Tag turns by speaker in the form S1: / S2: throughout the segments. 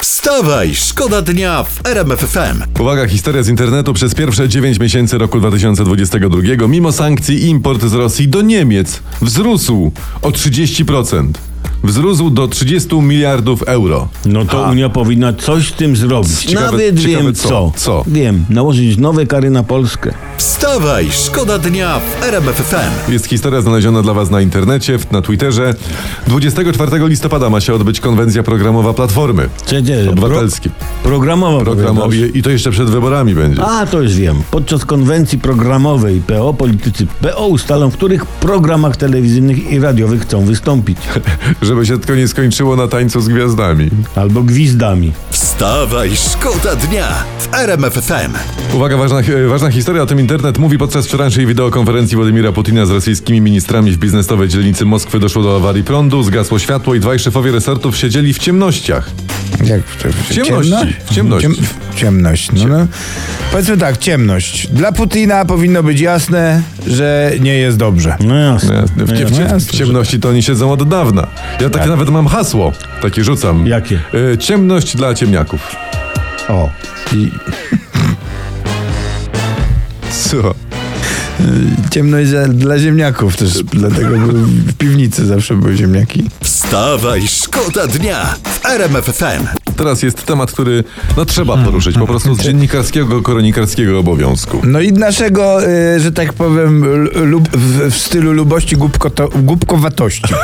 S1: Wstawaj, szkoda dnia w RMF FM.
S2: Uwaga, historia z internetu przez pierwsze 9 miesięcy roku 2022 mimo sankcji import z Rosji do Niemiec wzrósł o 30%. Wzrósł do 30 miliardów euro.
S3: No to Unia powinna coś z tym zrobić.
S2: Ciekawe-
S3: Nawet
S2: ciekawe
S3: wiem
S2: co.
S3: co.
S2: Co?
S3: Wiem, nałożyć nowe kary na Polskę.
S1: Wstawaj, szkoda dnia w RMF FM.
S2: Jest historia znaleziona dla Was na internecie, w- na Twitterze. 24 listopada ma się odbyć konwencja programowa Platformy
S3: Przecież
S2: Obywatelskiej.
S3: programowa
S2: Programowie, I to jeszcze przed wyborami będzie.
S3: A, to już wiem. Podczas konwencji programowej PO politycy PO ustalą, w których programach telewizyjnych i radiowych chcą wystąpić.
S2: Żeby się tylko nie skończyło na tańcu z gwiazdami.
S3: Albo gwizdami.
S1: Wstawaj, szkoda dnia w RMF FM.
S2: Uwaga, ważna, e, ważna historia o tym internet mówi podczas wczorajszej wideokonferencji Władimira Putina z rosyjskimi ministrami w biznesowej dzielnicy Moskwy doszło do awarii prądu, zgasło światło i dwaj szefowie resortów siedzieli w ciemnościach.
S4: Jak w, w,
S2: W ciemności, w ciemności.
S4: w ciemność. No, no. Powiedzmy tak, ciemność. Dla Putina powinno być jasne, że nie jest dobrze.
S3: No jasne.
S2: W, tak w, w, w ciemności to oni siedzą od dawna. Ja takie nawet mam hasło, takie rzucam.
S3: Jakie?
S2: E, Ciemność dla ciemniaków.
S3: O.
S4: I
S2: Co?
S4: ciemność za, dla ziemniaków też, dlatego że w piwnicy zawsze były ziemniaki.
S1: Wstawaj, szkoda dnia w RMF FM.
S2: Teraz jest temat, który no, trzeba poruszyć, po prostu z dziennikarskiego, koronikarskiego obowiązku.
S4: No i naszego, y, że tak powiem, l- lub, w, w stylu lubości głupkoto, głupkowatości.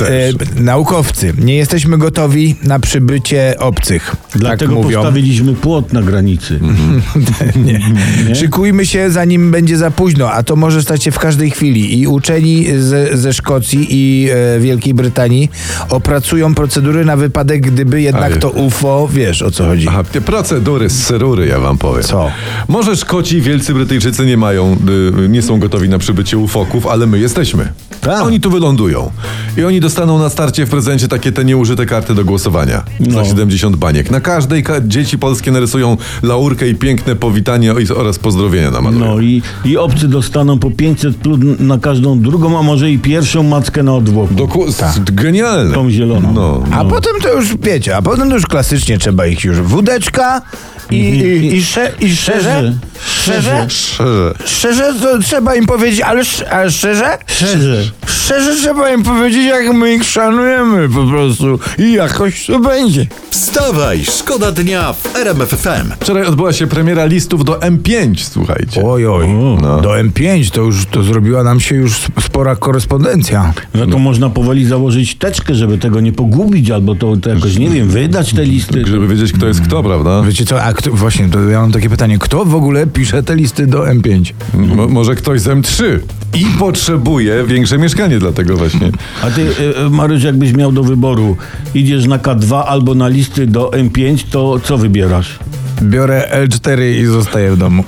S4: y, naukowcy, nie jesteśmy gotowi na przybycie obcych.
S3: Dlatego
S4: tak mówią.
S3: postawiliśmy płot na granicy. Nie?
S4: Szykujmy się, zanim będzie za późno, a to może stać się w każdej chwili. I uczeni ze, ze Szkocji i e, Wielkiej Brytanii opracują procedury na wypadek, gdyby jednak
S2: Aj.
S4: to UFO, wiesz o co chodzi.
S2: Aha, te procedury z serury, ja wam powiem.
S4: Co?
S2: Może Szkoci i wielcy Brytyjczycy nie mają, y, nie są gotowi na przybycie ufoków, ale my jesteśmy.
S3: Tak.
S2: Oni tu wylądują. I oni dostaną na starcie w prezencie takie te nieużyte karty do głosowania. Za
S3: No.
S2: 70 baniek. Na każdej ka- dzieci polskie narysują laurkę i piękne powitanie i- oraz pozdrowienia na malunek.
S3: No i, i obcy dostaną po 500 plus na każdą drugą, a może i pierwszą mackę na odwłoku.
S2: Doku- s- genialne.
S3: No. Tą zieloną.
S2: No.
S4: A potem to już, wiecie, a potem to już klasycznie trzeba ich już wódeczka i, i, i, sze, i szczerze, szczerze,
S2: Szczerze.
S4: szczerze to trzeba im powiedzieć, ale, sz, ale szczerze?
S3: Szczerze.
S4: Szczerze trzeba im powiedzieć, jak my ich szanujemy po prostu i jakoś to będzie.
S1: Wstawaj, szkoda dnia w RMF FM.
S2: Wczoraj odbyła się premiera listów do M5, słuchajcie.
S4: Oj, Mm, oj.
S2: No.
S4: Do M5 to już to zrobiła nam się już spora korespondencja.
S3: No to można powoli założyć teczkę, żeby tego nie pogubić, albo to, to jakoś, nie wiem, wydać te listy.
S2: Żeby wiedzieć, kto jest kto, prawda?
S4: Wiecie co, a kto, właśnie, to ja mam takie pytanie, kto w ogóle pisze te listy do M5?
S2: Mo- może ktoś z M3 i potrzebuje większe mieszkanie dla tego właśnie.
S3: A ty, e, e, Mariusz, jakbyś miał do wyboru, idziesz na K2 albo na listy do M5, to co wybierasz?
S4: Biorę L4 i zostaję w domu.